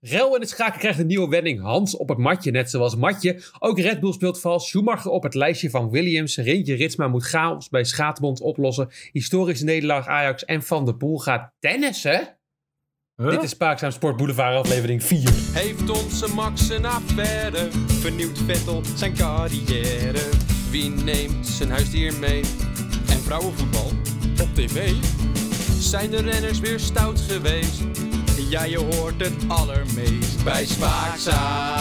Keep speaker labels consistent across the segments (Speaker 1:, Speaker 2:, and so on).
Speaker 1: Rel in het schaken krijgt een nieuwe wending. Hans op het matje, net zoals Matje. Ook Red Bull speelt vals. Schumacher op het lijstje van Williams. Rintje Ritsma moet chaos bij Schaatsbond oplossen. Historische nederlaag Ajax. En Van der Poel gaat tennissen.
Speaker 2: Huh?
Speaker 1: Dit is Spaakzaam Sport Boulevard aflevering 4.
Speaker 3: Heeft onze Max een affaire? Vernieuwt Vettel zijn carrière? Wie neemt zijn huisdier mee? En vrouwenvoetbal op tv? Zijn de renners weer stout geweest? Ja, je hoort het allermeest bij Spaakzaam.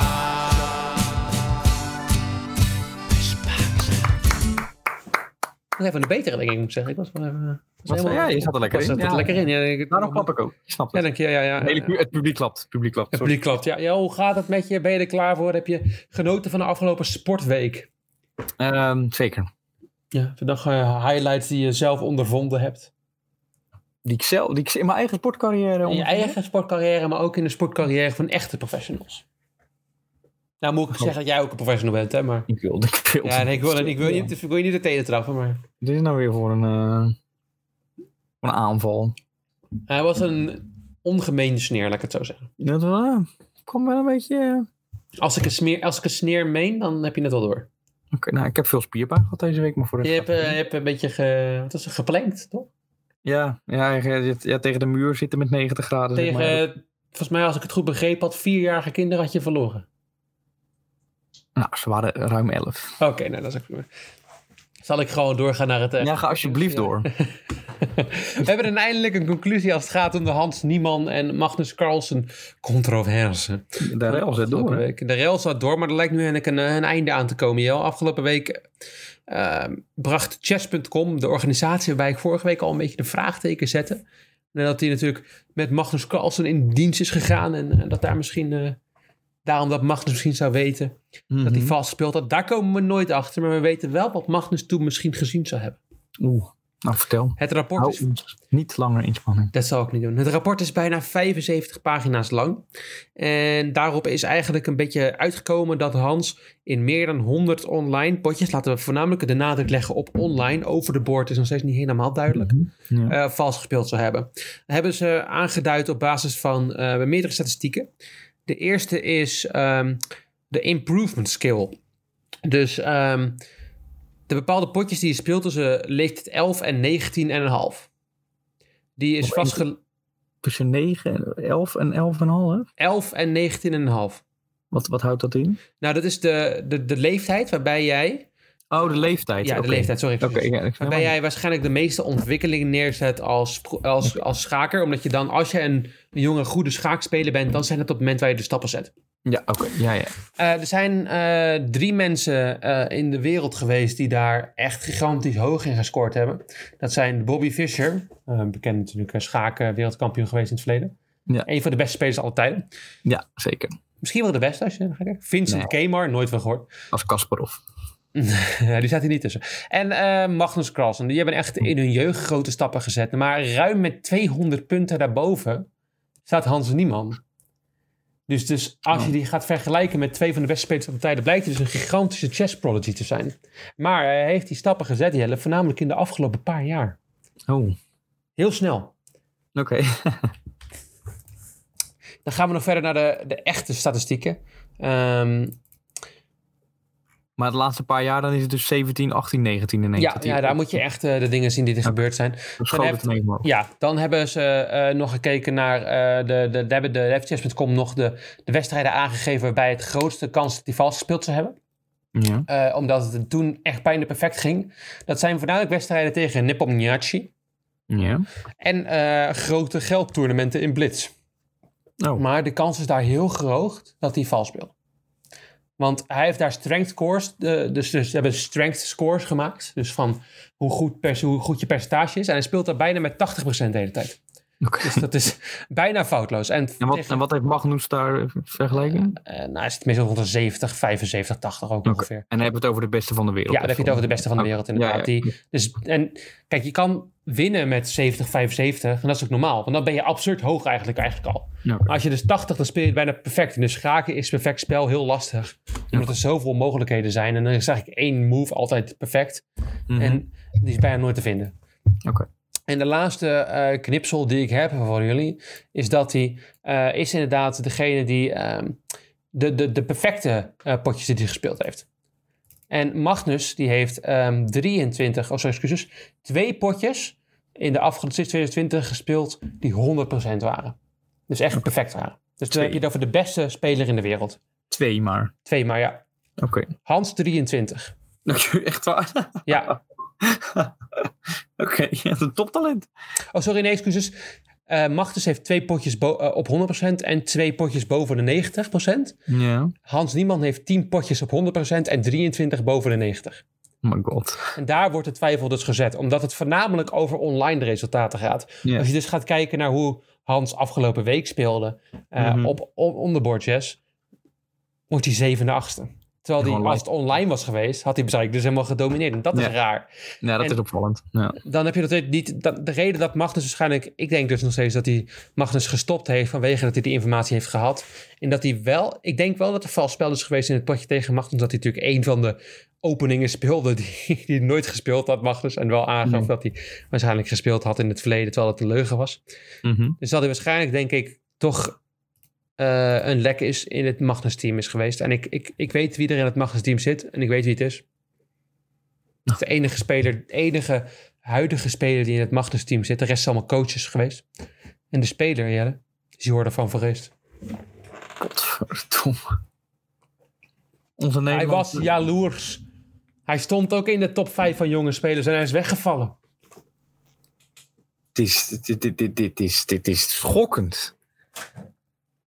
Speaker 1: Dat is even een betere, denk ik, moet ik zeggen. Ik was wel even... was
Speaker 2: Wat,
Speaker 1: helemaal-
Speaker 2: ja, je zat er lekker
Speaker 1: was
Speaker 2: in.
Speaker 1: zat er
Speaker 2: Ja.
Speaker 1: lekker in. Ja, ik,
Speaker 2: Daarom klap ik ook. Ik snap
Speaker 1: Ja,
Speaker 2: het.
Speaker 1: dank je. Ja, ja,
Speaker 2: Het hele
Speaker 1: ja.
Speaker 2: pu- het publiek klapt. Het publiek klapt.
Speaker 1: Het
Speaker 2: sorry.
Speaker 1: publiek klopt. Ja, ja, hoe gaat het met je? Ben je er klaar voor? Heb je genoten van de afgelopen sportweek?
Speaker 2: Ehm, zeker.
Speaker 1: Ja, de dag eh, highlights die je zelf ondervonden hebt.
Speaker 2: Die ik, zelf, die ik in mijn eigen sportcarrière...
Speaker 1: In je
Speaker 2: onder-
Speaker 1: eigen sportcarrière, maar ook in de sportcarrière van echte professionals. Nou moet ik zeggen dat jij ook een professional bent, hè? Maar...
Speaker 2: Ik wilde. Ik wilde.
Speaker 1: Ja, nee, ik, wil, ik, wil niet, ik wil je niet de tenen trappen, maar...
Speaker 2: Dit is nou weer voor een, eh, voor een aanval.
Speaker 1: Hij was een ongemeen sneer, laat ik het zo zeggen.
Speaker 2: Dat wel. Kom wel een beetje... eh,
Speaker 1: Als ik een, smeer, als ik een sneer meen, dan heb je het wel door.
Speaker 2: Oké, nou, ik heb veel spierpijn gehad deze week, maar voor de
Speaker 1: Je hebt, eh, je hebt een beetje ge, wat is het, geplankt, toch?
Speaker 2: Ja, ja, ja, ja, tegen de muur zitten met 90 graden. zeg
Speaker 1: Tegen,
Speaker 2: maar.
Speaker 1: eh, volgens mij, als ik het goed begreep had, vierjarige kinderen had je verloren.
Speaker 2: Nou, ze waren ruim 11.
Speaker 1: Oké, nou dat is ook prima. Zal ik gewoon doorgaan naar het... eh,
Speaker 2: Ja, ga alsjeblieft
Speaker 1: Ja.
Speaker 2: door.
Speaker 1: We hebben dan eindelijk een conclusie als het gaat om de Hans Nieman en Magnus Carlsen controverse.
Speaker 2: De rel zet door.
Speaker 1: Afgelopen
Speaker 2: hè.
Speaker 1: week. De rail zat door, maar er lijkt nu eigenlijk een, eh, een einde aan te komen. Jel. Afgelopen week eh, bracht chess.com, de organisatie waarbij ik vorige week al een beetje de vraagteken zette. Nadat hij natuurlijk met Magnus Carlsen in dienst is gegaan. En eh, dat daar misschien, eh, daarom dat Magnus misschien zou weten dat hij
Speaker 2: Mhm.
Speaker 1: vast speelt. Dat, daar komen we nooit achter, maar we weten wel wat Magnus toen misschien gezien zou hebben.
Speaker 2: Oeh, nou vertel.
Speaker 1: Het rapport
Speaker 2: Hou
Speaker 1: is
Speaker 2: ons niet langer in spanning.
Speaker 1: Dat zal ik niet doen. Het rapport is bijna 75 pagina's lang. En daarop is eigenlijk een beetje uitgekomen dat Hans in meer dan 100 online potjes, laten we voornamelijk de nadruk leggen op online, over de board is nog steeds niet helemaal duidelijk,
Speaker 2: Ja.
Speaker 1: eh, vals gespeeld zou hebben. Dat hebben ze aangeduid op basis van eh, meerdere statistieken. De eerste is ehm, de improvement skill. Dus ehm, de bepaalde potjes die je speelt tussen leeftijd 11 en 19 en een half. Die is
Speaker 2: Op één
Speaker 1: vastgelegd.
Speaker 2: Tussen 9 en 11 en 11 en half.
Speaker 1: 11 en 19,5.
Speaker 2: Wat, wat houdt dat in?
Speaker 1: Nou, dat is de, de, de leeftijd waarbij jij.
Speaker 2: Oh, de leeftijd.
Speaker 1: Ja,
Speaker 2: oké.
Speaker 1: de leeftijd, sorry.
Speaker 2: Oké, ja, ik snap
Speaker 1: Waarbij
Speaker 2: het.
Speaker 1: jij waarschijnlijk de meeste ontwikkeling neerzet als, pro- als, als schaker. Omdat je dan, als je een, een jonge, goede schaakspeler bent, dan zijn het op het moment waar je de stappen zet.
Speaker 2: Ja, oké. Ja, ja.
Speaker 1: Eh, er zijn eh, drie mensen eh, in de wereld geweest die daar echt gigantisch hoog in gescoord hebben. Dat zijn Bobby Fischer, eh, bekend natuurlijk eh, schaken, wereldkampioen geweest in het verleden.
Speaker 2: Ja.
Speaker 1: Een van de beste spelers aller tijden.
Speaker 2: ja, zeker.
Speaker 1: Misschien wel de beste als je gaat kijken. Vincent Kemar, nooit van gehoord.
Speaker 2: Als Kasparov.
Speaker 1: Ja, die staat hier niet tussen. En eh, Magnus Carlsen. Die hebben echt in hun jeugd grote stappen gezet. Maar ruim met 200 punten daarboven staat Hans Niemann. Dus, dus als je die gaat vergelijken met twee van de beste spelers van de tijden... blijkt hij dus een gigantische chess prodigy te zijn. Maar eh, hij heeft die stappen gezet, Jelle, voornamelijk in de afgelopen paar jaar.
Speaker 2: Oh, oké.
Speaker 1: Heel snel. Dan gaan we nog verder naar de, de echte statistieken. Ehm,
Speaker 2: Maar de laatste paar jaar dan is het dus 17, 18, 19 en 19.
Speaker 1: ja, ja, daar moet je echt eh, de dingen zien die er gebeurd zijn.
Speaker 2: Schoon
Speaker 1: dan
Speaker 2: het mee omhoog.
Speaker 1: Ja, dan hebben ze eh, nog gekeken naar eh, de, de, de, hebben de FCS.com nog de, de wedstrijden aangegeven waarbij het grootste kans dat die vals gespeeld zou hebben.
Speaker 2: Ja.
Speaker 1: Eh, omdat het toen echt bijna perfect ging. Dat zijn voornamelijk wedstrijden tegen Nepomniachtchi
Speaker 2: Ja.
Speaker 1: en eh, grote geldtoernamenten in Blitz.
Speaker 2: Oh.
Speaker 1: Maar de kans is daar heel groot dat hij vals speelt. Want hij heeft daar strength scores, de, dus, dus ze hebben strength scores gemaakt. Dus van hoe goed, pers- hoe goed je percentage is. En hij speelt daar bijna met 80% de hele tijd.
Speaker 2: Oké.
Speaker 1: Dus dat is bijna foutloos. En,
Speaker 2: En, wat,
Speaker 1: tegen-
Speaker 2: en wat heeft Magnus daar vergelijken?
Speaker 1: eh, nou, is het meestal rond de 70, 75, 80 ook ongeveer.
Speaker 2: En dan hebben we het over de beste van de wereld.
Speaker 1: Ja, dan heb je het over de beste van de
Speaker 2: Oh,
Speaker 1: wereld
Speaker 2: ja,
Speaker 1: inderdaad.
Speaker 2: ja.
Speaker 1: Die, dus, en kijk, je kan winnen met 70, 75. En dat is ook normaal. Want dan ben je absurd hoog eigenlijk, eigenlijk al.
Speaker 2: Ja.
Speaker 1: Maar als je dus 80, dan speel je het bijna perfect. En dus schaken is perfect spel heel lastig. Omdat er zoveel mogelijkheden zijn. En dan is eigenlijk één move altijd perfect.
Speaker 2: Mhm.
Speaker 1: En die is bijna nooit te vinden.
Speaker 2: Oké.
Speaker 1: En de laatste eh, knipsel die ik heb voor jullie is dat hij eh, is inderdaad degene die ehm, de, de, de perfecte eh, potjes die hij gespeeld heeft. En Magnus die heeft ehm 23, oh sorry, excuses, twee potjes in de afgelopen sinds 2020 gespeeld die 100% waren. Dus echt perfect waren. Dus dan heb je het over de beste speler in de wereld.
Speaker 2: Twee maar.
Speaker 1: Twee maar ja.
Speaker 2: Oké.
Speaker 1: Hans 23.
Speaker 2: Echt waar?
Speaker 1: Ja.
Speaker 2: Oké, je hebt een toptalent.
Speaker 1: Oh, sorry, nee, excuses. Eh Magnus heeft twee potjes bo- eh, op 100% en twee potjes boven de 90%.
Speaker 2: Ja.
Speaker 1: Hans Niemann heeft 10 potjes op 100% en 23 boven de 90%.
Speaker 2: Oh my god.
Speaker 1: En daar wordt de twijfel dus gezet, omdat het voornamelijk over online resultaten gaat.
Speaker 2: Ja.
Speaker 1: Als je dus gaat kijken naar hoe Hans afgelopen week speelde eh,
Speaker 2: Mhm.
Speaker 1: op, op Onderboard Jazz, wordt hij zevende, achtste. Terwijl hij,
Speaker 2: Online.
Speaker 1: als het online was geweest, had hij waarschijnlijk dus helemaal gedomineerd. En dat is
Speaker 2: Ja.
Speaker 1: raar
Speaker 2: Ja, dat
Speaker 1: En-
Speaker 2: is opvallend. Ja.
Speaker 1: dan heb je dat weer niet. dat- de reden dat Magnus waarschijnlijk. Ik denk dus nog steeds dat hij Magnus gestopt heeft. vanwege dat hij die informatie heeft gehad. En dat hij wel. Ik denk wel dat er vals spel is geweest in het potje tegen Magnus. Dat hij natuurlijk een van de openingen speelde. die, die hij nooit gespeeld had, Magnus. En wel aangaf
Speaker 2: Nee.
Speaker 1: dat hij waarschijnlijk gespeeld had in het verleden. terwijl het een leugen was.
Speaker 2: Mhm.
Speaker 1: Dus dat hij waarschijnlijk, denk ik, toch. eh, een lek is in het Magnus-team is geweest. En ik, ik, ik weet wie er in het Magnus-team zit. En ik weet wie het is. Het is de enige speler, de enige huidige speler die in het Magnus-team zit. De rest zijn allemaal coaches geweest. En de speler, Jelle, is Jordan van Vergeest.
Speaker 2: Godverdomme. Onze Nederlandse...
Speaker 1: Hij was jaloers. Hij stond ook in de top 5 van jonge spelers en hij is weggevallen.
Speaker 2: Dit is, dit, dit, dit, dit is, dit is schokkend.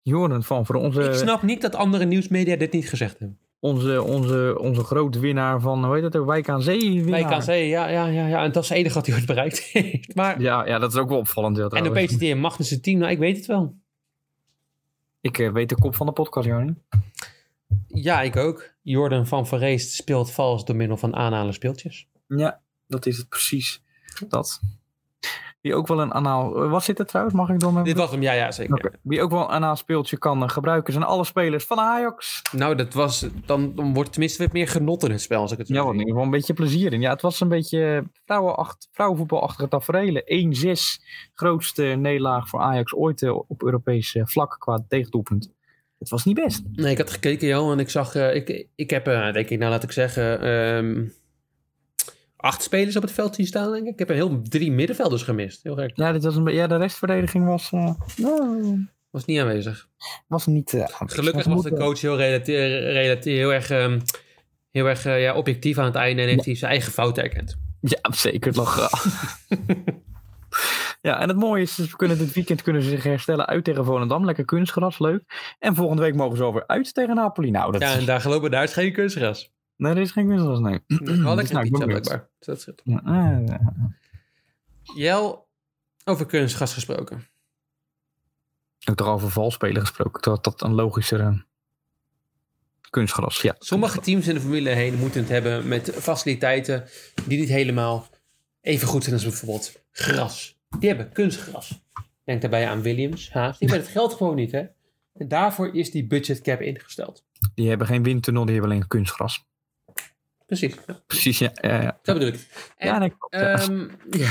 Speaker 2: Jordan van, voor
Speaker 1: Ik
Speaker 2: onze,
Speaker 1: snap niet dat andere nieuwsmedia dit niet gezegd hebben.
Speaker 2: onze, onze, onze grote winnaar van, hoe heet dat, ook, Wijk aan Zee. Winnaar.
Speaker 1: Nee, ik kan zeggen, ja, ja, ja, ja. En dat is het enige wat hij ooit bereikt heeft. Maar,
Speaker 2: Ja, ja, dat is ook wel opvallend. Ja,
Speaker 1: en
Speaker 2: trouwens.
Speaker 1: opeens zit hij in Magnus' team. Nou, ik weet het wel.
Speaker 2: Ik eh, weet de kop van de podcast, Jordan.
Speaker 1: Ja, ik ook. Jordan van Verreest speelt vals door middel van aanhalen speeltjes.
Speaker 2: Ja, dat is het precies. Dat. Wie ook wel een anaal... eh, Wat zit er trouwens? Mag ik door mijn...
Speaker 1: Dit was hem, ja, ja, zeker.
Speaker 2: Oké. Wie ook wel een anaal speeltje kan eh, gebruiken zijn alle spelers van Ajax.
Speaker 1: Nou, dat was, dan, dan wordt tenminste weer meer genot in het spel, als ik het zo
Speaker 2: Ja, wat in
Speaker 1: zie.
Speaker 2: ieder geval een beetje plezier in. Ja, het was een beetje vrouwenacht- vrouwenvoetbalachtige tafereelen. 1-6, grootste nederlaag voor Ajax ooit eh, op Europees eh, vlak qua tegendoelpunt. Het was niet best.
Speaker 1: Nee, ik had gekeken, Johan, en ik zag... eh, ik, ik heb, eh, denk ik, nou laat ik zeggen... ehm, acht spelers op het veld zien staan, denk ik. Ik heb een heel drie middenvelders gemist. Heel gek.
Speaker 2: Ja, dit was een, be- ja de restverdediging was, eh, nou,
Speaker 1: Was niet aanwezig.
Speaker 2: was niet... eh, aanwezig. Maar
Speaker 1: Gelukkig
Speaker 2: ze
Speaker 1: was de
Speaker 2: moeten-
Speaker 1: coach heel, relate- relate- heel erg, ehm, heel erg eh, ja, objectief aan het einde... en heeft hij zijn eigen fouten erkend.
Speaker 2: Ja, zeker lachen. ja, en het mooie is, dus we kunnen dit weekend kunnen ze zich herstellen uit tegen Volendam. Lekker kunstgras, leuk. En volgende week mogen ze alweer uit tegen Napoli. Nou, dat
Speaker 1: Ja, en
Speaker 2: is...
Speaker 1: daar gelopen, daar is geen kunstgras.
Speaker 2: Nee, er is geen kunstgras, nee.
Speaker 1: Wel
Speaker 2: Dus
Speaker 1: lekker
Speaker 2: nou, ik
Speaker 1: pizza,
Speaker 2: ben benieuwd.
Speaker 1: blijkbaar. Dus dat scheelt.
Speaker 2: Ja, eh,
Speaker 1: Jel, over kunstgas gesproken.
Speaker 2: Ik heb toch over valspelen gesproken. Dat dat een logischere kunstgras. Ja.
Speaker 1: Sommige teams in de Formule 1 moeten het hebben met faciliteiten die niet helemaal even goed zijn als bijvoorbeeld gras. Die hebben kunstgras. Denk daarbij aan Williams, Haas. Die hebben het geld gewoon niet, hè? En daarvoor is die budgetcap ingesteld.
Speaker 2: Die hebben geen windtunnel, die hebben alleen kunstgras.
Speaker 1: Precies. Ja,
Speaker 2: Precies, ja. ja, ja.
Speaker 1: dat bedoel ik. het. En,
Speaker 2: Ja, nee, klopt, ja.
Speaker 1: Ehm, ja.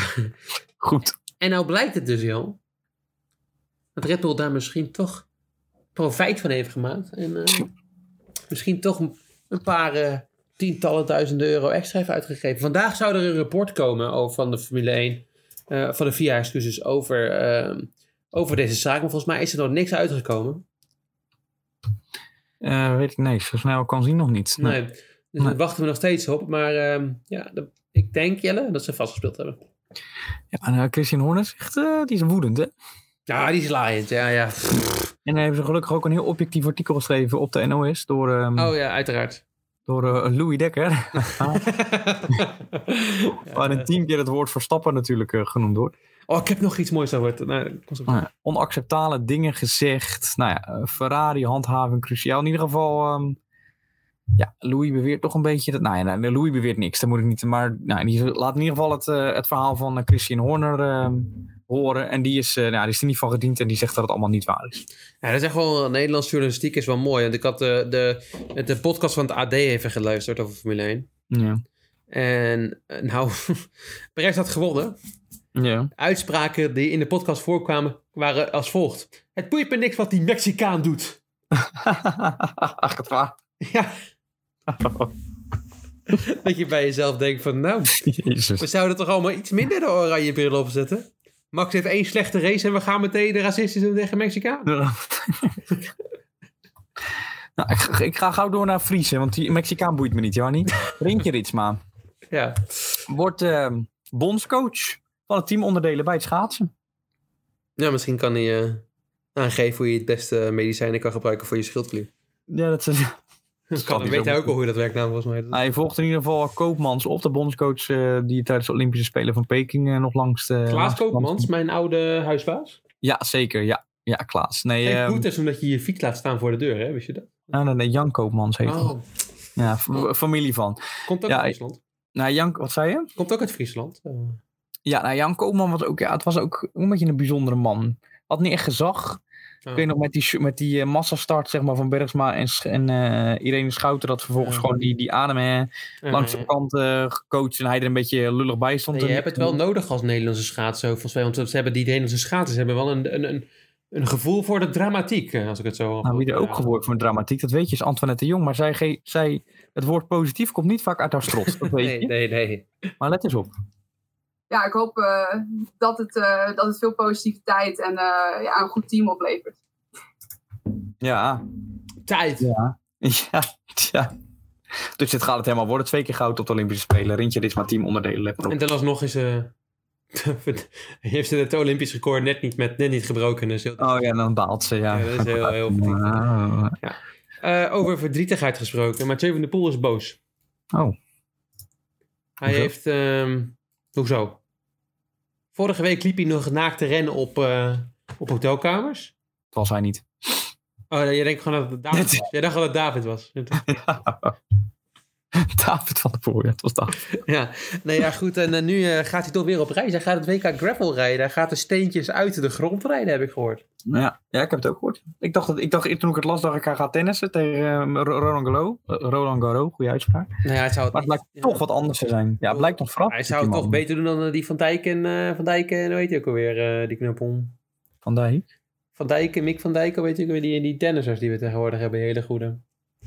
Speaker 2: Goed.
Speaker 1: En nou blijkt het dus, Jel, dat Red Bull daar misschien toch profijt van heeft gemaakt. En eh, misschien toch een- een paar eh, tientallen duizenden euro extra heeft uitgegeven. Vandaag zou er een rapport komen over, van de Formule 1, eh, van de VIA, excuses, over, eh, over deze zaak. Maar volgens mij is er nog niks uitgekomen.
Speaker 2: Eh, weet ik nee, zo snel kan zien nog niet. Nou, Nee.
Speaker 1: Nee. Dus daar
Speaker 2: Nee.
Speaker 1: wachten we nog steeds op. Maar ehm, ja, dat- ik denk, Jelle, dat ze vastgespeeld hebben.
Speaker 2: Ja, en, eh, Christian Horner zegt, eh, die is woedend, hè?
Speaker 1: Ja, die is laaiend. Ja, ja.
Speaker 2: En dan hebben ze gelukkig ook een heel objectief artikel geschreven op de NOS door, ehm,
Speaker 1: Oh ja, uiteraard.
Speaker 2: door eh, Louis Dekker. waarin
Speaker 1: Ja.
Speaker 2: tien keer het woord Verstappen natuurlijk eh, genoemd wordt.
Speaker 1: Oh, ik heb nog iets moois over. het- Nou, dat komt zo.
Speaker 2: Nou ja, onacceptabele dingen gezegd. Nou ja, eh, Ferrari, handhaving cruciaal. In ieder geval, ehm, ja, Louis beweert toch een beetje dat. Nou ja, nou, Louis beweert niks, dat moet ik niet. Maar nou, in ieder- laat in ieder geval het, eh, het verhaal van eh, Christian Horner ehm, horen. En die is, eh, nou, die is er niet van gediend en die zegt dat het allemaal niet waar is.
Speaker 1: Ja, dat is echt wel, Nederlands journalistiek is wel mooi. Want ik had de, de, de podcast van het AD even geluisterd over Formule 1.
Speaker 2: Ja.
Speaker 1: En eh, nou, Perez had gewonnen.
Speaker 2: Ja.
Speaker 1: Uitspraken die in de podcast voorkwamen waren als volgt. Het boeit me niks wat die Mexicaan doet.
Speaker 2: Ach, het waar.
Speaker 1: Ja. dat je bij jezelf denkt van, nou, we
Speaker 2: Jezus.
Speaker 1: zouden toch allemaal iets minder de oranje bril opzetten? Max heeft één slechte race en we gaan meteen de racistisch doen tegen Mexicaan.
Speaker 2: nou, ik, ga- ik ga gauw door naar Fries, hè, want die Mexicaan boeit me niet, Jannie. Rintje Ritsma
Speaker 1: Ja.
Speaker 2: wordt ehm bondscoach van het teamonderdelen bij het schaatsen.
Speaker 1: ja, misschien kan hij eh, aangeven hoe je het beste medicijnen kan gebruiken voor je schildklier.
Speaker 2: Ja, dat is...
Speaker 1: Kan,
Speaker 2: hij
Speaker 1: weet
Speaker 2: zo
Speaker 1: hij ook al hoe dat werkt namelijk volgens mij.
Speaker 2: Hij volgt in ieder geval Koopmans op, de bondscoach eh, die tijdens de Olympische Spelen van Peking eh, nog langs de...
Speaker 1: Klaas
Speaker 2: langs de kant-
Speaker 1: Koopmans, mijn oude huisbaas.
Speaker 2: Ja, zeker. Ja, ja Klaas. Nee,
Speaker 1: Geef
Speaker 2: ehm,
Speaker 1: boetes omdat je je fiets laat staan voor de deur, hè? Wist je dat?
Speaker 2: nee, nee, nee, Jan Koopmans heet hij.
Speaker 1: Oh,
Speaker 2: Ja, f- familie van.
Speaker 1: komt ook
Speaker 2: Ja,
Speaker 1: uit
Speaker 2: ik-
Speaker 1: Friesland.
Speaker 2: Nou, Jan, wat zei je?
Speaker 1: Komt ook uit Friesland. Eh,
Speaker 2: Ja, nou, Jan Koopman was ook, ja, het was ook een beetje een bijzondere man. Had niet echt gezag.
Speaker 1: Ja.
Speaker 2: Ik weet nog met die, sh- met die eh, massastart zeg maar, van Bergsma en, Sch- en eh, Irene Schouten... dat vervolgens
Speaker 1: Ja.
Speaker 2: gewoon die, die adem eh, langs de
Speaker 1: eh,
Speaker 2: kant eh, gecoacht... en hij er een beetje lullig bij stond.
Speaker 1: Nee, je
Speaker 2: En-
Speaker 1: hebt het wel nodig als Nederlandse schaatsen, volgens mij. Want ze hebben die Nederlandse schaatsen, ze hebben wel een, een, een, een gevoel voor de dramatiek, eh, als ik het zo...
Speaker 2: Nou, wie er ook
Speaker 1: Ja.
Speaker 2: gehoord voor dramatiek, dat weet je, is Antoinette de Jong. Maar zij, ge- zij, het woord positief komt niet vaak uit haar strot, dat weet
Speaker 1: Nee,
Speaker 2: je.
Speaker 1: nee, nee.
Speaker 2: Maar let eens op.
Speaker 4: ja, ik hoop eh, dat, het, eh, dat het veel positiviteit en eh, ja, een goed team oplevert.
Speaker 2: Ja,
Speaker 1: Tijd.
Speaker 2: ja. Ja, ja. Dus dit gaat het helemaal worden. Twee keer goud op de Olympische Spelen. Rintje, dit is mijn team onderdelen. Let maar op.
Speaker 1: En dan alsnog is... eh heeft ze het Olympisch record net niet, met, net niet gebroken. Dus heel,
Speaker 2: Oh ja, dan baalt ze, ja.
Speaker 1: ja, dat is heel, heel verdrietig.
Speaker 2: Ah.
Speaker 1: Eh, over verdrietigheid gesproken. Mathieu van der Poel is boos.
Speaker 2: Oh.
Speaker 1: Hij
Speaker 2: Hoezo?
Speaker 1: heeft... ehm, hoezo? Vorige week liep hij nog naakt te rennen op, eh, op hotelkamers.
Speaker 2: Dat was hij niet.
Speaker 1: Oh, nee, jij denkt gewoon dat het David was. Jij dacht gewoon dat het David was.
Speaker 2: David van der Poel, ja, het was David.
Speaker 1: Ja, nee, ja, goed. En eh, nu eh, gaat hij toch weer op reis. Hij gaat het WK Gravel rijden. Hij gaat de steentjes uit de grond rijden, heb ik gehoord.
Speaker 2: Ja, ja, ik heb het ook gehoord. Ik dacht, dat, ik dacht toen ik het las, dacht ik, hij gaat tennissen tegen eh, Ro- Roland Garros. Eh, Roland Garros, goede uitspraak.
Speaker 1: Nou ja, hij zou het,
Speaker 2: Maar het
Speaker 1: niet-
Speaker 2: lijkt
Speaker 1: ja.
Speaker 2: toch wat anders te zijn. Ja, het lijkt toch
Speaker 1: Hij
Speaker 2: verrassend.
Speaker 1: zou het
Speaker 2: die
Speaker 1: toch
Speaker 2: man.
Speaker 1: beter doen dan eh, die Van Dijk en eh, Van Dijk en hoe heet hij ook alweer, eh, die knuppel.
Speaker 2: Van Dijk.
Speaker 1: Van Dijk en Mick van Dijk, weet je ook alweer, die, die tennissers die we tegenwoordig hebben, die hele goede.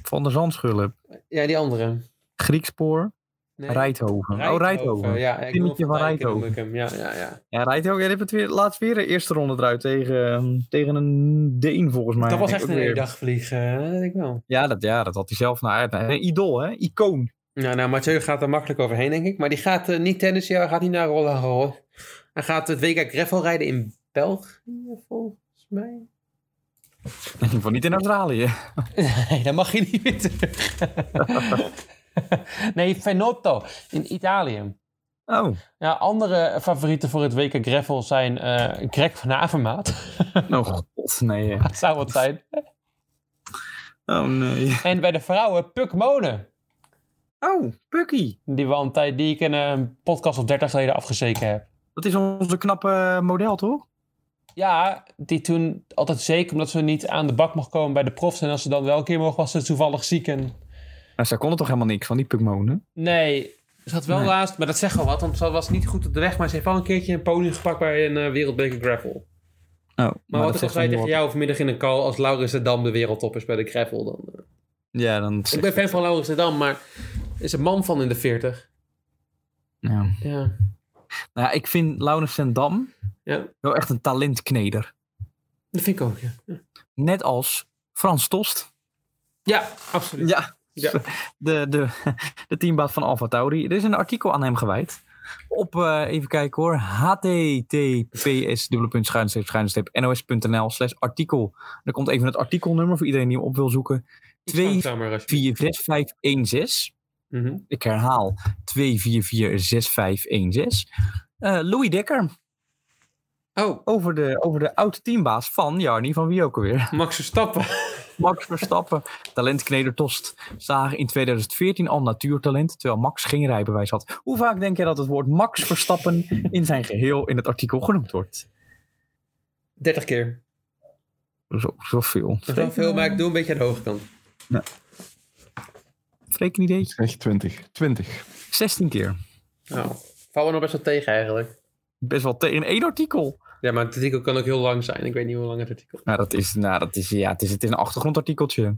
Speaker 2: Van der Zandschullen,
Speaker 1: Ja, die andere.
Speaker 2: Griekspoor,
Speaker 1: Nee.
Speaker 2: Rijthoven. Oh, Rijthoven. Ja,
Speaker 1: Ja, ik noem
Speaker 2: Pinnetje
Speaker 1: van
Speaker 2: van
Speaker 1: Dijk, noem ik hem. Ja, ja, ja.
Speaker 2: Rijthoven. Jij hebt het weer, laatst weer de eerste ronde eruit tegen, ehm, tegen een Deen, volgens mij.
Speaker 1: dat was
Speaker 2: Ik
Speaker 1: echt
Speaker 2: ook
Speaker 1: een
Speaker 2: weer.
Speaker 1: hele dag vliegen, dat denk ik wel.
Speaker 2: Ja dat, ja, dat had hij zelf naar uit. Een idool, hè? Icoon.
Speaker 1: Nou, nou, Mathieu gaat er makkelijk overheen, denk ik. Maar die gaat eh, niet tennis, hij gaat niet naar Roland Garros. Hij gaat het WK Gravel rijden in België, volgens mij.
Speaker 2: In ieder geval niet in Australië.
Speaker 1: Nee, dan mag je niet meer terug. nee, Fenotto in Italië.
Speaker 2: Oh,
Speaker 1: Ja, andere favorieten voor het WK Gravel zijn eh, Greg van Avermaat.
Speaker 2: oh god, nee. hè.
Speaker 1: Dat zou wat zijn.
Speaker 2: Oh, nee.
Speaker 1: En bij de vrouwen Puk Monen.
Speaker 2: Oh, Pucky.
Speaker 1: Die, we al een tijd, die ik in een podcast of 30 geleden afgezeken heb.
Speaker 2: Dat is onze knappe model, toch?
Speaker 1: Ja, die toen altijd zeker omdat ze niet aan de bak mocht komen bij de profs. En als ze dan wel een keer mocht, was ze toevallig ziek. En...
Speaker 2: Nou, zij kon er toch helemaal niks van, die Pukmonen?
Speaker 1: Nee, ze had wel
Speaker 2: Nee.
Speaker 1: laatst, maar dat zegt wel wat, want ze was niet goed op de weg. Maar ze heeft wel een keertje een podium gepakt bij een eh, wereldbeker gravel.
Speaker 2: Oh, maar,
Speaker 1: Maar, wat
Speaker 2: dat
Speaker 1: ik al
Speaker 2: zegt
Speaker 1: zei
Speaker 2: dan
Speaker 1: tegen
Speaker 2: wel-
Speaker 1: jou vanmiddag in een call, als Laurens de Dam de wereldtop is bij de gravel dan. eh.
Speaker 2: Ja, dan...
Speaker 1: Ik ben fan van Laurens de Dam, maar is een man van in de 40.
Speaker 2: Ja.
Speaker 1: Ja.
Speaker 2: Nou, ja, ik vind Laurens ten Dam
Speaker 1: ja,
Speaker 2: wel echt een talentkneder.
Speaker 1: dat vind ik ook, ja.
Speaker 2: Net als Frans Tost.
Speaker 1: Ja, absoluut.
Speaker 2: Ja,
Speaker 1: Ja.
Speaker 2: de, de, de teambaas van Alfa Tauri. Er is een artikel aan hem gewijd. Op, eh, even kijken hoor, https://nos.nl slash artikel. Er komt even het artikelnummer voor iedereen die hem op wil zoeken. 246516.
Speaker 1: Mhm.
Speaker 2: Ik herhaal, 2446516. Eh Louis Dekker,
Speaker 1: Oh,
Speaker 2: over de, over de oud-teambaas van Jarny, van wie ook alweer?
Speaker 1: Max Verstappen.
Speaker 2: Max Verstappen, talentkneder Tost, zagen in 2014 al natuurtalent, terwijl Max geen rijbewijs had. Hoe vaak denk je dat het woord Max Verstappen in zijn geheel in het artikel genoemd wordt?
Speaker 1: 30 keer.
Speaker 2: Zo, zoveel.
Speaker 1: Dat is wel veel, maar ik doe een beetje aan de hoge kant.
Speaker 2: Freek een ideetje.
Speaker 5: Echt 20. 20.
Speaker 2: 16 keer.
Speaker 1: Oh. Nou, vallen we nog best wel tegen eigenlijk.
Speaker 2: best wel tegen één artikel.
Speaker 1: Ja, maar het artikel kan ook heel lang zijn. Ik weet niet hoe lang het artikel
Speaker 2: Nou, dat is, nou, dat is, ja, het is, het is een achtergrondartikeltje.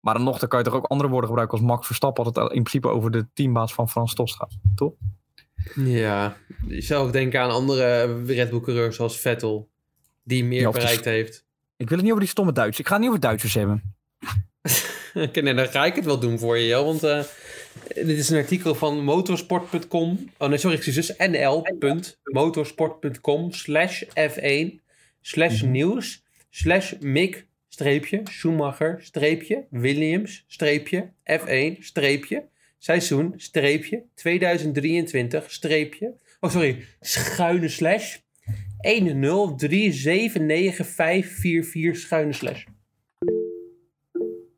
Speaker 2: Maar dan nog, dan kan je toch ook andere woorden gebruiken als Max Verstappen, dat het in principe over de teambaas van Frans Tos gaat.
Speaker 1: Ja, je zou ook denken aan andere Red Bull coureurs zoals Vettel. Die meer
Speaker 2: Ja, of die-
Speaker 1: bereikt heeft.
Speaker 2: Ik wil het niet over die stomme Duitsers. Ik ga het niet over Duitsers hebben.
Speaker 1: Oké, nee, dan ga ik het wel doen voor je, Jo, Want eh, dit is een artikel van motorsport.com. Oh nee, sorry, excuses. nl.motorsport.com slash f1 slash nieuws slash Mick streepje Schumacher streepje Williams streepje F1 streepje seizoen streepje 2023 streepje oh sorry schuine slash 103795544 schuine slash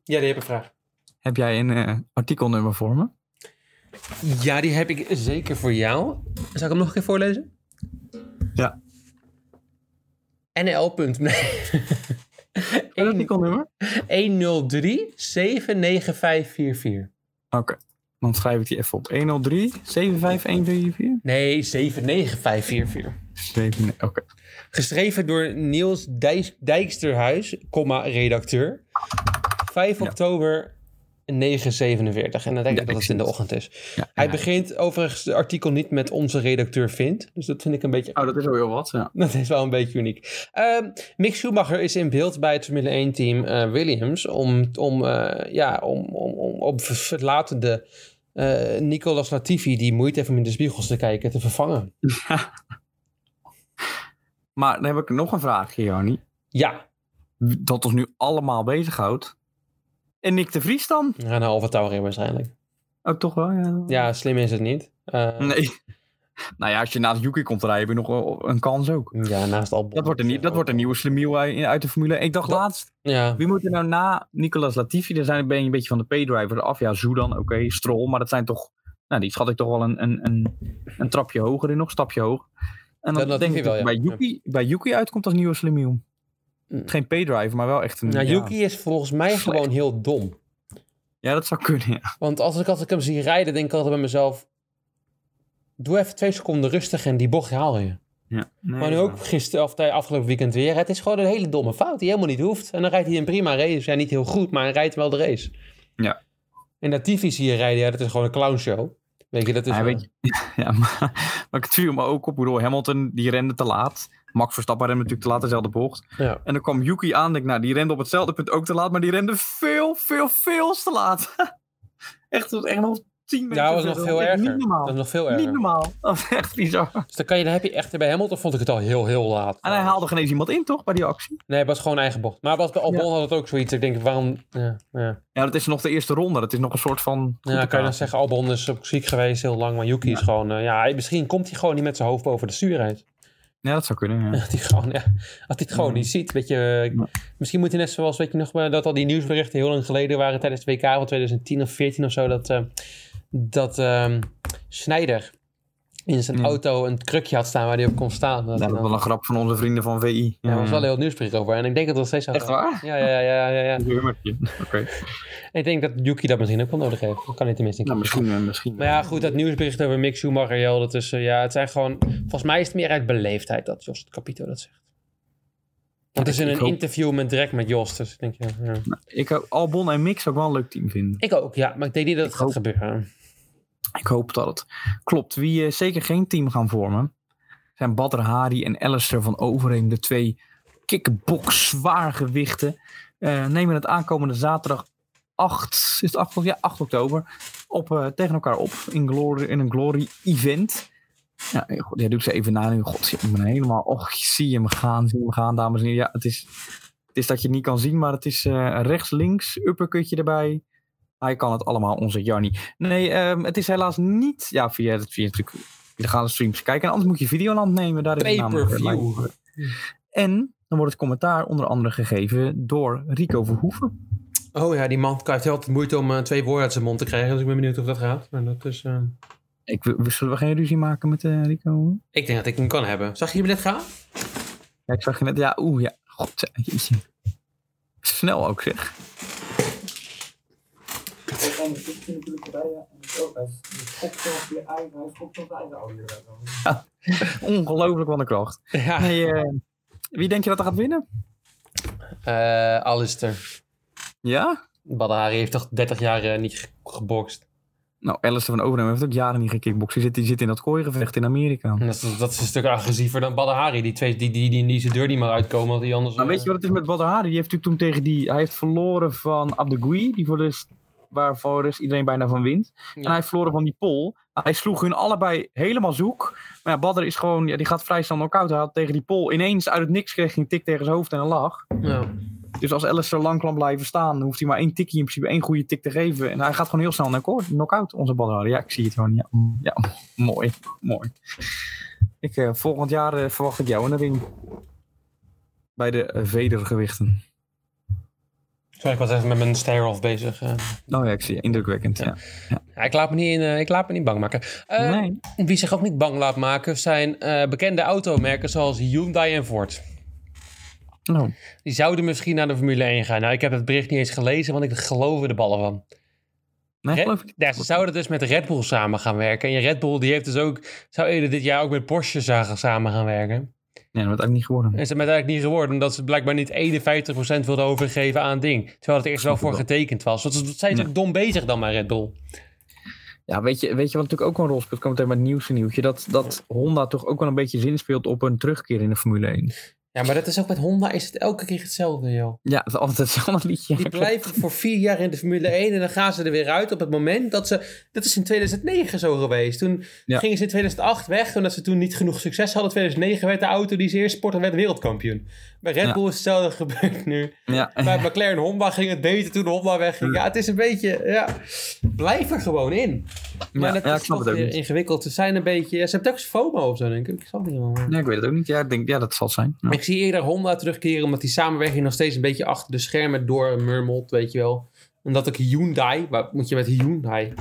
Speaker 1: ja, die heb ik een vraag.
Speaker 2: Heb jij een eh, artikelnummer voor me?
Speaker 1: Ja, die heb ik zeker voor jou. Zal ik hem nog een keer voorlezen?
Speaker 2: Ja.
Speaker 1: NL. punt. Nee.
Speaker 2: Een
Speaker 1: Oh,
Speaker 2: artikelnummer?
Speaker 1: 103-79544.
Speaker 2: Oké. Dan schrijf ik die even op. 103 75134
Speaker 1: Nee, 79544.
Speaker 2: 7 Oké.
Speaker 1: Geschreven door Niels Dijs- Dijksterhuis, comma, redacteur. 5
Speaker 2: Ja.
Speaker 1: oktober 947. En dan denk ik
Speaker 2: Ja,
Speaker 1: dat
Speaker 2: ik
Speaker 1: het
Speaker 2: zie
Speaker 1: in de
Speaker 2: het.
Speaker 1: ochtend is.
Speaker 2: Ja,
Speaker 1: Hij
Speaker 2: ja.
Speaker 1: begint overigens het artikel niet met onze redacteur vindt. Dus dat vind ik een beetje
Speaker 2: Oh, dat is wel heel wat, ja.
Speaker 1: Dat is wel een beetje uniek. Ehm, Mick Schumacher is in beeld bij het Formule 1-team Williams. Om, om, eh, ja, om, om, om op verlatende eh, Nicolas Latifi, die moeite heeft om in de spiegels te kijken, te vervangen.
Speaker 2: Maar dan heb ik nog een vraagje, Jarni.
Speaker 1: Ja,
Speaker 2: Dat ons nu allemaal bezighoudt. En Nick de Vries dan?
Speaker 1: we gaan naar Alfa Tauri waarschijnlijk.
Speaker 2: Oh, toch wel, ja.
Speaker 1: Ja, slim is het niet. Eh,
Speaker 2: Nee. Nou ja, als je naast Yuki komt rijden, heb je nog wel een kans ook.
Speaker 1: Ja, naast Albon.
Speaker 2: Dat wordt een, nie- dat wordt een nieuwe slemiel uit uit de Formule 1. Ik dacht
Speaker 1: Dat-
Speaker 2: laatst,
Speaker 1: Ja,
Speaker 2: wie moet er nou na Nicolas Latifi? Daar zijn, ben je een beetje van de P-driver af. Ja, Zoudan, oké, Stroll. Maar dat zijn toch, nou die schat ik toch wel een, een, een, een trapje hoger in, nog een stapje hoger. En dan
Speaker 1: Dat Latifi
Speaker 2: denk ik
Speaker 1: wel,
Speaker 2: dat
Speaker 1: ja.
Speaker 2: bij, Yuki, bij Yuki uitkomt als nieuwe slemiel.
Speaker 1: Mm.
Speaker 2: Geen P-driver, maar wel echt een...
Speaker 1: nou,
Speaker 2: ja.
Speaker 1: Yuki is volgens mij
Speaker 2: Slecht.
Speaker 1: gewoon heel dom.
Speaker 2: Ja, dat zou kunnen, ja.
Speaker 1: Want als ik, als ik hem zie rijden, denk ik altijd bij mezelf... Doe even twee seconden rustig en die bocht haal je.
Speaker 2: ja. Nee,
Speaker 1: Maar nu
Speaker 2: ja.
Speaker 1: ook gisteren, of de afgelopen weekend weer. Het is gewoon een hele domme fout die helemaal niet hoeft. En dan rijdt hij een prima race. Ja, niet heel goed, maar hij rijdt wel de race.
Speaker 2: Ja.
Speaker 1: En dat Tiffy hier rijden, ja, dat is gewoon een clownshow. Weet je, dat is...
Speaker 2: Ja,
Speaker 1: eh,
Speaker 2: weet Ja, maar, maar het viel me ook op. Ik bedoel, Hamilton, die rende te laat. Max Verstappen rende natuurlijk te laat, dezelfde bocht.
Speaker 1: Ja.
Speaker 2: En dan kwam Yuki aan, denk ik, nou, die rende op hetzelfde punt ook te laat. Maar die rende veel, veel, veel te laat. echt, dat was echt nog tien minuten.
Speaker 1: ja, dat was nog veel erger.
Speaker 2: Niet normaal.
Speaker 1: Dat was nog veel
Speaker 2: Niet
Speaker 1: erger.
Speaker 2: normaal. Dat was echt bizar.
Speaker 1: Dus dan, kan je, dan heb je echt bij Hamilton vond ik het al heel, heel laat.
Speaker 2: En hij haalde geen eens iemand in, toch, bij die actie?
Speaker 1: Nee, het was gewoon eigen bocht. Maar was bij Albon had het ook zoiets. Ik denk, waarom... Ja, ja.
Speaker 2: Ja, dat is nog de eerste ronde. Dat is nog een soort van...
Speaker 1: ja dan kan je dan zeggen, Albon is ook ziek geweest heel lang. Maar Yuki is gewoon... eh, ja, hij- misschien komt hij gewoon niet met zijn hoofd boven de stuur uit.
Speaker 2: Ja, dat zou kunnen, ja.
Speaker 1: Dat hij gewoon, ja, dat hij het gewoon
Speaker 2: Ja.
Speaker 1: niet ziet. Weet je, eh,
Speaker 2: Ja.
Speaker 1: misschien moet hij net zoals, weet je nog, wel, dat al die nieuwsberichten heel lang geleden waren tijdens het WK van 2010 of 14 of zo, dat, eh dat ehm Snijder in zijn
Speaker 2: Ja.
Speaker 1: auto een krukje had staan waar hij op kon staan. Dat,
Speaker 2: Ja,
Speaker 1: hij
Speaker 2: dat was
Speaker 1: dan-
Speaker 2: wel een grap van onze vrienden van VI.
Speaker 1: ja, er was wel een heel nieuwsbericht over. En ik denk dat dat steeds zo
Speaker 2: Echt
Speaker 1: gaat.
Speaker 2: waar?
Speaker 1: Ja, ja, ja, ja, ja.
Speaker 2: Een hummertje. Oké.
Speaker 1: Ik denk dat Yuki dat misschien ook wel nodig heeft. Dat kan hij tenminste een
Speaker 2: Nou,
Speaker 1: keer.
Speaker 2: misschien, eh, misschien.
Speaker 1: Maar ja, goed, dat nieuwsbericht over Mick Schumacher, joh, dat is, eh, ja, het zijn gewoon, volgens mij is het meer uit beleefdheid dat Jos het Capito dat zegt. Want het is in
Speaker 2: ik
Speaker 1: een
Speaker 2: hoop-
Speaker 1: interview met direct met Jos, dus ik denk, ja, ja.
Speaker 2: Ik, eh, Albon en Mix zou ik wel een leuk team vinden.
Speaker 1: Ik ook, ja, maar ik denk niet dat het
Speaker 2: Ik
Speaker 1: gaat
Speaker 2: hoop-
Speaker 1: gebeuren.
Speaker 2: Ik hoop dat het klopt. Wie eh, zeker geen team gaan vormen, zijn Badr Hari en Alistair van Overeem, de twee kickbox zwaargewichten. eh, nemen het aankomende zaterdag 8, is het 8, ja, 8 oktober op, eh, tegen elkaar op in, glory, in een glory event. Ja, eh, god, jij doet ze even na nu. God, ik ben helemaal. Och, zie je hem gaan, zie je hem gaan, dames en heren. Ja, het is, het is dat je het niet kan zien, maar het is eh, rechts, links, uppercutje erbij. Hij kan het allemaal, onze Jarni. Nee, ehm, het is helaas niet. Ja, via, via natuurlijk illegale streams kijken. En anders moet je Videoland nemen. Daar is het namelijk
Speaker 1: Pay-per-view.
Speaker 2: live. En dan wordt het commentaar onder andere gegeven door Rico Verhoeven.
Speaker 1: Oh ja, die man heeft altijd moeite om eh, twee woorden uit zijn mond te krijgen, dus ik ben benieuwd of dat gaat. Maar dat is, eh,
Speaker 2: Ik, w- zullen we geen ruzie maken met eh, Rico?
Speaker 1: Ik denk dat ik hem kan hebben. Zag je hem net gaan?
Speaker 2: Ja, ik zag je net. Ja, oeh, ja. God, ja, jeetje. Snel ook, zeg. Ongelooflijk wat een kracht.
Speaker 1: Ja,
Speaker 2: Hey, eh, wie denk je dat er gaat winnen?
Speaker 1: Eh Alistair.
Speaker 2: Ja?
Speaker 1: Badahari heeft toch 30 jaar eh, niet ge- gebokst.
Speaker 2: Nou, Alistair van Overeem heeft ook jaren niet gekickboxen. Die zit, die zit in dat kooigevecht in Amerika.
Speaker 1: Dat is, dat is een stuk agressiever dan Badahari. Die twee die, die, die, die zijn deur niet meer uitkomen. Want die anders, eh,
Speaker 2: Maar Nou, weet je wat het is met Badr Hari? Die heeft natuurlijk toen tegen die... Hij heeft verloren van Abdegui, die voor de rest- waar voor de rest iedereen bijna van wint. En hij heeft verloren van die Pol. Hij sloeg hun allebei helemaal zoek. Maar ja, Badr is gewoon... Ja, die gaat vrij snel knock-out. Hij had tegen die Pol ineens uit het niks kreeg hij een tik tegen zijn hoofd en een lach.
Speaker 1: Ja.
Speaker 2: Dus als Alistair lang kan blijven staan, dan hoeft hij maar één tikje, in principe één goede tik te geven. En hij gaat gewoon heel snel naar koor- knock-out, onze Badr. Ja, ik zie het gewoon. Ja, mm, ja mooi. Mooi. Ik, eh, volgend jaar eh, verwacht ik jou in de ring. Bij de eh, vedergewichten.
Speaker 1: Sorry, ik was even met mijn stare-off bezig. eh.
Speaker 2: Nou ja, ik zie je. Indrukwekkend, ja.
Speaker 1: Ja, ik, laat me niet in, eh, ik laat me niet bang maken. Eh,
Speaker 2: nee.
Speaker 1: Wie zich ook niet bang laat maken zijn eh, bekende automerken zoals Hyundai en Ford.
Speaker 2: Nou,
Speaker 1: Die zouden misschien naar de Formule 1 gaan. Nou, ik heb het bericht niet eens gelezen, want ik geloof er de ballen van.
Speaker 2: nee,
Speaker 1: Red-
Speaker 2: geloof ik niet.
Speaker 1: Ja, ze zouden dus met Red Bull samen gaan werken. En Red Bull die heeft dus ook, zou eerder dit jaar ook met Porsche zagen- samen gaan werken.
Speaker 2: Nee, dat wordt eigenlijk niet geworden.
Speaker 1: En ze met eigenlijk niet geworden, omdat ze blijkbaar niet 51% wilden overgeven aan het ding. Terwijl het eerst wel
Speaker 2: Snap ik
Speaker 1: voor
Speaker 2: wel.
Speaker 1: getekend was. Dus dat zijn ze
Speaker 2: Ja.
Speaker 1: ook dom bezig dan bij Red Bull.
Speaker 2: Ja, weet je, weet je wat natuurlijk ook wel een rol speelt? Komt meteen met het nieuws en nieuwtje. Dat, dat Honda toch ook wel een beetje zin speelt op een terugkeer in de Formule 1.
Speaker 1: Ja, maar dat is ook met Honda is het elke keer hetzelfde, joh.
Speaker 2: Ja, dat is altijd hetzelfde liedje.
Speaker 1: Die blijven voor vier jaar in de Formule 1 en dan gaan ze er weer uit op het moment dat ze... Dat is in 2009 zo geweest. Toen
Speaker 2: Ja.
Speaker 1: gingen ze in 2008 weg, omdat ze toen niet genoeg succes hadden. In 2009 werd de auto die ze eerst sportte, werd wereldkampioen. Bij Red
Speaker 2: Ja.
Speaker 1: Bull is hetzelfde gebeurd nu.
Speaker 2: Ja,
Speaker 1: Bij McLaren Honda ging het beter toen Honda wegging. Ja, het is een beetje... Ja, blijf er gewoon in. Maar
Speaker 2: ja,
Speaker 1: dat
Speaker 2: ja, ik
Speaker 1: is
Speaker 2: snap
Speaker 1: toch
Speaker 2: het ook
Speaker 1: weer
Speaker 2: niet.
Speaker 1: ingewikkeld. Ze zijn een beetje... Ze hebben ook FOMO of zo, denk ik. Ik snap het niet helemaal.
Speaker 2: Ja, ik weet het ook niet. Ja, ik denk, ja dat zal het zijn. Ja.
Speaker 1: Ik zie eerder Honda terugkeren, omdat die samenwerking nog steeds een beetje achter de schermen door murmelt, weet je wel. Omdat ik Hyundai, wat moet je met Hyundai?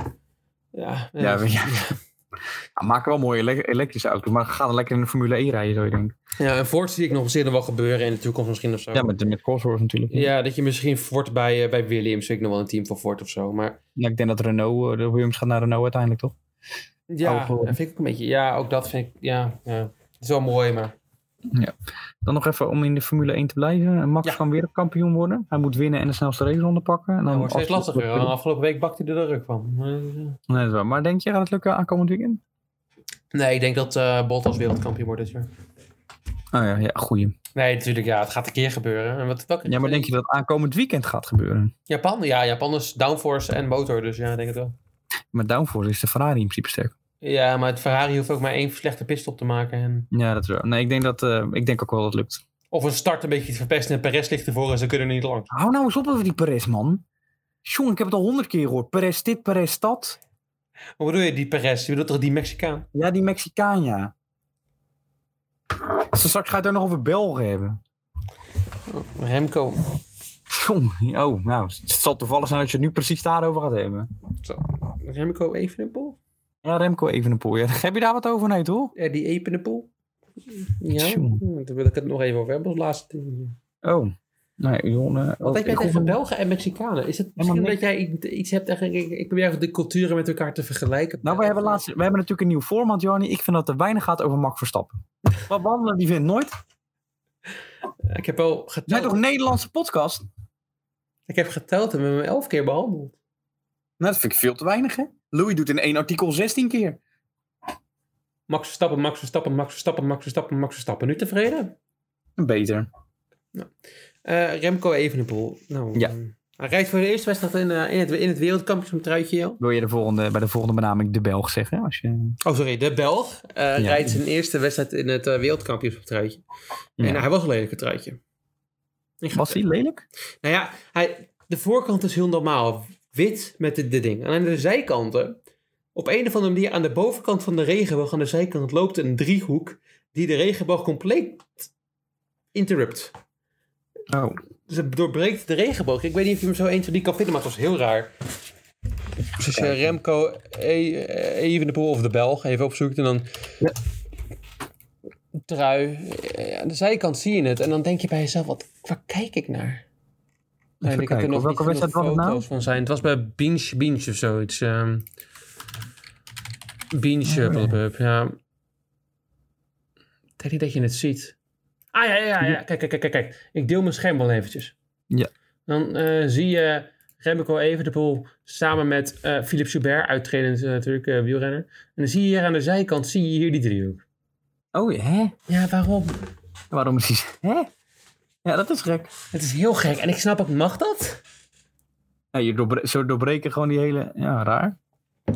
Speaker 1: Ja, eh,
Speaker 2: Ja, maar ja. Ja, maak wel mooie ele- elektrische auto's, maar ga dan lekker in de Formule 1 rijden, zou je denken.
Speaker 1: ja, en Ford zie ik nog zeker wel gebeuren in de toekomst misschien of zo.
Speaker 2: Ja, met, met Cosworth natuurlijk.
Speaker 1: Ja, dat je misschien Ford bij, eh, bij Williams, vind ik nog wel een team van Ford of zo. Maar
Speaker 2: Ja, ik denk dat Renault, eh, de Williams gaat naar Renault uiteindelijk, toch?
Speaker 1: ja,
Speaker 2: Oude geworden.
Speaker 1: dat vind ik ook een beetje, ja, ook dat vind ik, ja, ja. Het is wel mooi, maar...
Speaker 2: Dan nog even om in de Formule 1 te blijven. Max
Speaker 1: Ja.
Speaker 2: kan weer kampioen worden. Hij moet winnen en de snelste raceronde pakken. En
Speaker 1: Het
Speaker 2: dan
Speaker 1: wordt steeds
Speaker 2: afsluiten
Speaker 1: lastiger.
Speaker 2: met-
Speaker 1: want Afgelopen week bakte hij er de ruk van. Eh,
Speaker 2: Nee, dat is waar. Maar denk je, gaat het lukken aankomend weekend?
Speaker 1: Nee, ik denk dat eh Bottas wereldkampioen wordt dit jaar.
Speaker 2: Oh ja, ja goeie.
Speaker 1: Nee, natuurlijk, ja, het gaat een keer gebeuren. En wat, welke-
Speaker 2: Ja, maar denk je dat het aankomend weekend gaat gebeuren?
Speaker 1: Japan, ja, Japan is downforce en motor, dus ja, ik denk het wel.
Speaker 2: Met downforce is de Ferrari in principe sterk.
Speaker 1: Ja, maar het Ferrari hoeft ook maar één slechte pitstop te maken. En...
Speaker 2: Ja, dat is waar. Nee, ik denk, dat, eh, ik denk ook wel dat het lukt.
Speaker 1: Of een start een beetje te verpesten en Perez ligt ervoor en ze kunnen er niet langs.
Speaker 2: Hou nou eens op over die Perez, man. Jong, ik heb het al honderd keer gehoord. Perez dit, Perez dat.
Speaker 1: Hoe bedoel je die Perez? Je bedoelt toch die Mexicaan?
Speaker 2: Ja, die Mexicaan, ja. Zo straks ga je het ook nog over Belgen hebben.
Speaker 1: Remco.
Speaker 2: Jong, oh, nou, het zal toevallig zijn dat je het nu precies daarover gaat hebben.
Speaker 1: Remco Evenepoel?
Speaker 2: Ja, Remco Evenepoel. Ja, heb je daar wat over? Nee, toch?
Speaker 1: Ja, Eh, die Evenepoel? Ja,
Speaker 2: Tjoe.
Speaker 1: daar wil ik het nog even over hebben als laatste. ding.
Speaker 2: Oh. Nee, jong. eh,
Speaker 1: Wat
Speaker 2: ik
Speaker 1: heb jij
Speaker 2: hoef
Speaker 1: tegen
Speaker 2: hem-
Speaker 1: Belgen en Mexicanen? Is het misschien dat jij i- iets hebt tegen... Ik, ik probeer even de culturen met elkaar te vergelijken.
Speaker 2: Nou, we hebben, laatst, we hebben natuurlijk een nieuw format, Johnny. Ik vind dat er weinig gaat over Max Verstappen. Wat wandelen, die vindt nooit. Het
Speaker 1: Ik heb wel
Speaker 2: zijn
Speaker 1: geteld.
Speaker 2: toch een Nederlandse podcast?
Speaker 1: Ik heb geteld en we hebben hem elf keer behandeld.
Speaker 2: Nou, dat vind ik veel te weinig, hè? Louis doet in één artikel 16 keer.
Speaker 1: Max Verstappen, Max Verstappen, Max Verstappen, Max Verstappen, Max Verstappen. Nu tevreden?
Speaker 2: Beter.
Speaker 1: Eh Remco Evenepoel. Nou,
Speaker 2: Ja.
Speaker 1: eh, hij rijdt voor de eerste wedstrijd in, eh, in het, in het wereldkampioenschap truitje. joh.
Speaker 2: Wil je de volgende, bij de volgende benaming de Belg zeggen? Als je...
Speaker 1: Oh, sorry. De Belg eh, rijdt zijn eerste wedstrijd in het eh, wereldkampioenschap truitje.
Speaker 2: Ja.
Speaker 1: En hij was een lelijke truitje. Ik ga-
Speaker 2: Was hij lelijk?
Speaker 1: Nou ja, hij, de voorkant is heel normaal. Wit met dit dit ding. En aan de zijkanten, op een of andere manier aan de bovenkant van de regenboog, aan de zijkant loopt een driehoek die de regenboog compleet interrupt.
Speaker 2: Oh.
Speaker 1: Dus het doorbreekt de regenboog. Ik weet niet of je hem zo eentje die kan vinden, maar het was heel raar. Dus eh, Remco E- eh, Evenepoel of de Belg even opzoekt en dan... Trui. eh, Aan de zijkant zie je het en dan denk je bij jezelf, wat, waar kijk ik naar?
Speaker 2: Even
Speaker 1: ik heb er
Speaker 2: kijken,
Speaker 1: nog
Speaker 2: welke
Speaker 1: niet genoeg
Speaker 2: wedstrijd was het nou?
Speaker 1: foto's van zijn. Het was bij Binge Binge of zoiets. ehm Binge,
Speaker 2: Oh, ja.
Speaker 1: blub, blub, ja. Kijk niet dat je het ziet. Ah ja, ja, ja. ja. Kijk, kijk, kijk, kijk, kijk. Ik deel mijn scherm wel eventjes.
Speaker 2: Ja.
Speaker 1: Dan eh, zie je Remco Evenepoel samen met eh Philippe Joubert, uittredend eh, natuurlijk eh, wielrenner. En dan zie je hier aan de zijkant, zie je hier die driehoek.
Speaker 2: Oh, hè?
Speaker 1: Ja, waarom?
Speaker 2: Waarom is hij... Hè? Ja, dat is gek.
Speaker 1: Het is heel gek. En ik snap ook, mag dat?
Speaker 2: Ja, je doorbre zo doorbreken gewoon die hele... Ja, raar.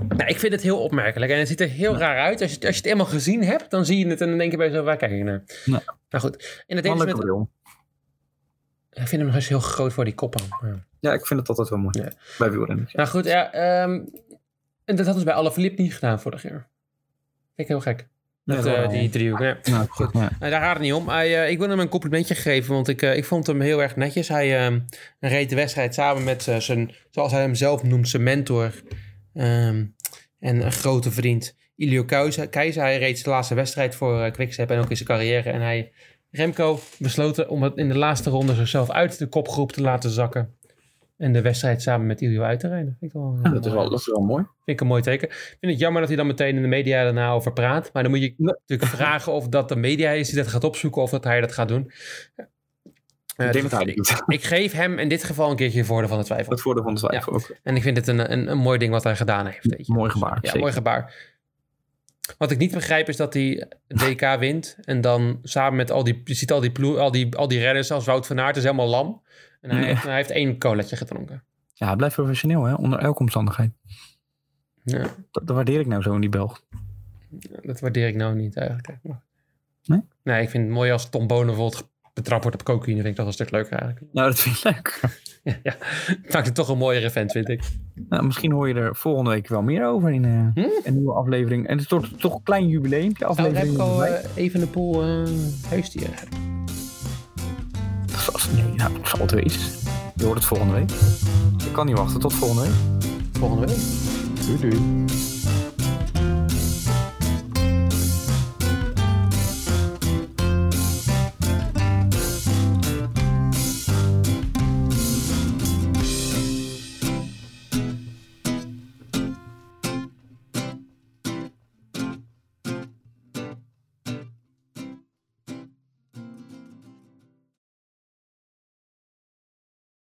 Speaker 1: Nou, ik vind het heel opmerkelijk. En het ziet er heel raar uit. Als je, het- als je het eenmaal gezien hebt, dan zie je het en dan denk je bij jezelf, waar kijk ik naar?
Speaker 2: Ja.
Speaker 1: Nou goed. En dat deden
Speaker 2: Wel een
Speaker 1: ze
Speaker 2: leuke
Speaker 1: met...
Speaker 2: bril.
Speaker 1: Ik vind hem nog eens heel groot voor die kop aan. Ja.
Speaker 2: Ja, ik vind het altijd wel mooi.
Speaker 1: Ja.
Speaker 2: Bij wielrenners.
Speaker 1: Nou goed, ja, ehm, en dat hadden ze bij Alaphilippe niet gedaan vorig jaar. Vind ik heel gek. Dat,
Speaker 2: Ja,
Speaker 1: eh,
Speaker 2: wel.
Speaker 1: die driehoek. Ja.
Speaker 2: Nou, goed. Ja.
Speaker 1: Nou, daar gaat het niet om. Hij, eh, ik wil hem een complimentje geven, want ik, eh, ik vond hem heel erg netjes. Hij ehm, reed de wedstrijd samen met eh, zijn, zoals hij hem zelf noemt, zijn mentor ehm, en een grote vriend, Ilio Keuze- Keizer. Hij reed zijn laatste wedstrijd voor eh Quickstep en ook in zijn carrière. En hij, Remco, besloten om het in de laatste ronde zichzelf uit de kopgroep te laten zakken. En de wedstrijd samen met Ilio uit te rijden. Vind ik wel, eh,
Speaker 2: Ja, dat, is wel, dat is wel mooi.
Speaker 1: Vind ik een mooi teken. Ik vind het jammer dat hij dan meteen in de media daarna over praat. Maar dan moet je
Speaker 2: Nee.
Speaker 1: natuurlijk vragen of dat de media is die dat gaat opzoeken of dat hij dat gaat doen. Eh,
Speaker 2: ik
Speaker 1: dus
Speaker 2: denk dat hij het doet.
Speaker 1: ik geef hem in dit geval een keertje voordeel van de twijfel.
Speaker 2: Dat voordeel van de twijfel ook.
Speaker 1: En ik vind het een, een, een mooi ding wat hij gedaan heeft. Weet je.
Speaker 2: Mooi gebaar.
Speaker 1: Ja,
Speaker 2: zeker.
Speaker 1: mooi gebaar. Wat ik niet begrijp is dat hij het WK wint. En dan samen met al die, je ziet al die, ploe- al die, al die renners, als Wout van Aert is helemaal lam. En hij,
Speaker 2: Nee.
Speaker 1: heeft, hij heeft één colaatje gedronken.
Speaker 2: Ja, hij blijft professioneel, hè? Onder elke omstandigheid.
Speaker 1: Ja.
Speaker 2: Dat, dat waardeer ik nou zo in die Belg.
Speaker 1: Dat waardeer ik nou niet eigenlijk.
Speaker 2: Nee?
Speaker 1: Nee, ik vind het mooi als Tom Bonen bijvoorbeeld betrapt wordt op cocaïne. Vind ik dat wel een stuk leuker eigenlijk.
Speaker 2: Nou, dat vind ik leuk.
Speaker 1: ja, maakt het toch een mooiere vent, vind ik.
Speaker 2: Nou, misschien hoor je er volgende week wel meer over in eh,
Speaker 1: Hm?
Speaker 2: een nieuwe aflevering. En het is toch, toch een klein jubileum.
Speaker 1: Zou
Speaker 2: Aflevering
Speaker 1: Remco
Speaker 2: nummer vijf.
Speaker 1: eh, even een poel huisdieren hebben?
Speaker 2: Dat zal- nee, nou, dat zal het wezen. Je hoort het volgende week. Ik kan niet wachten tot volgende week.
Speaker 1: Volgende week.
Speaker 2: Doei doei.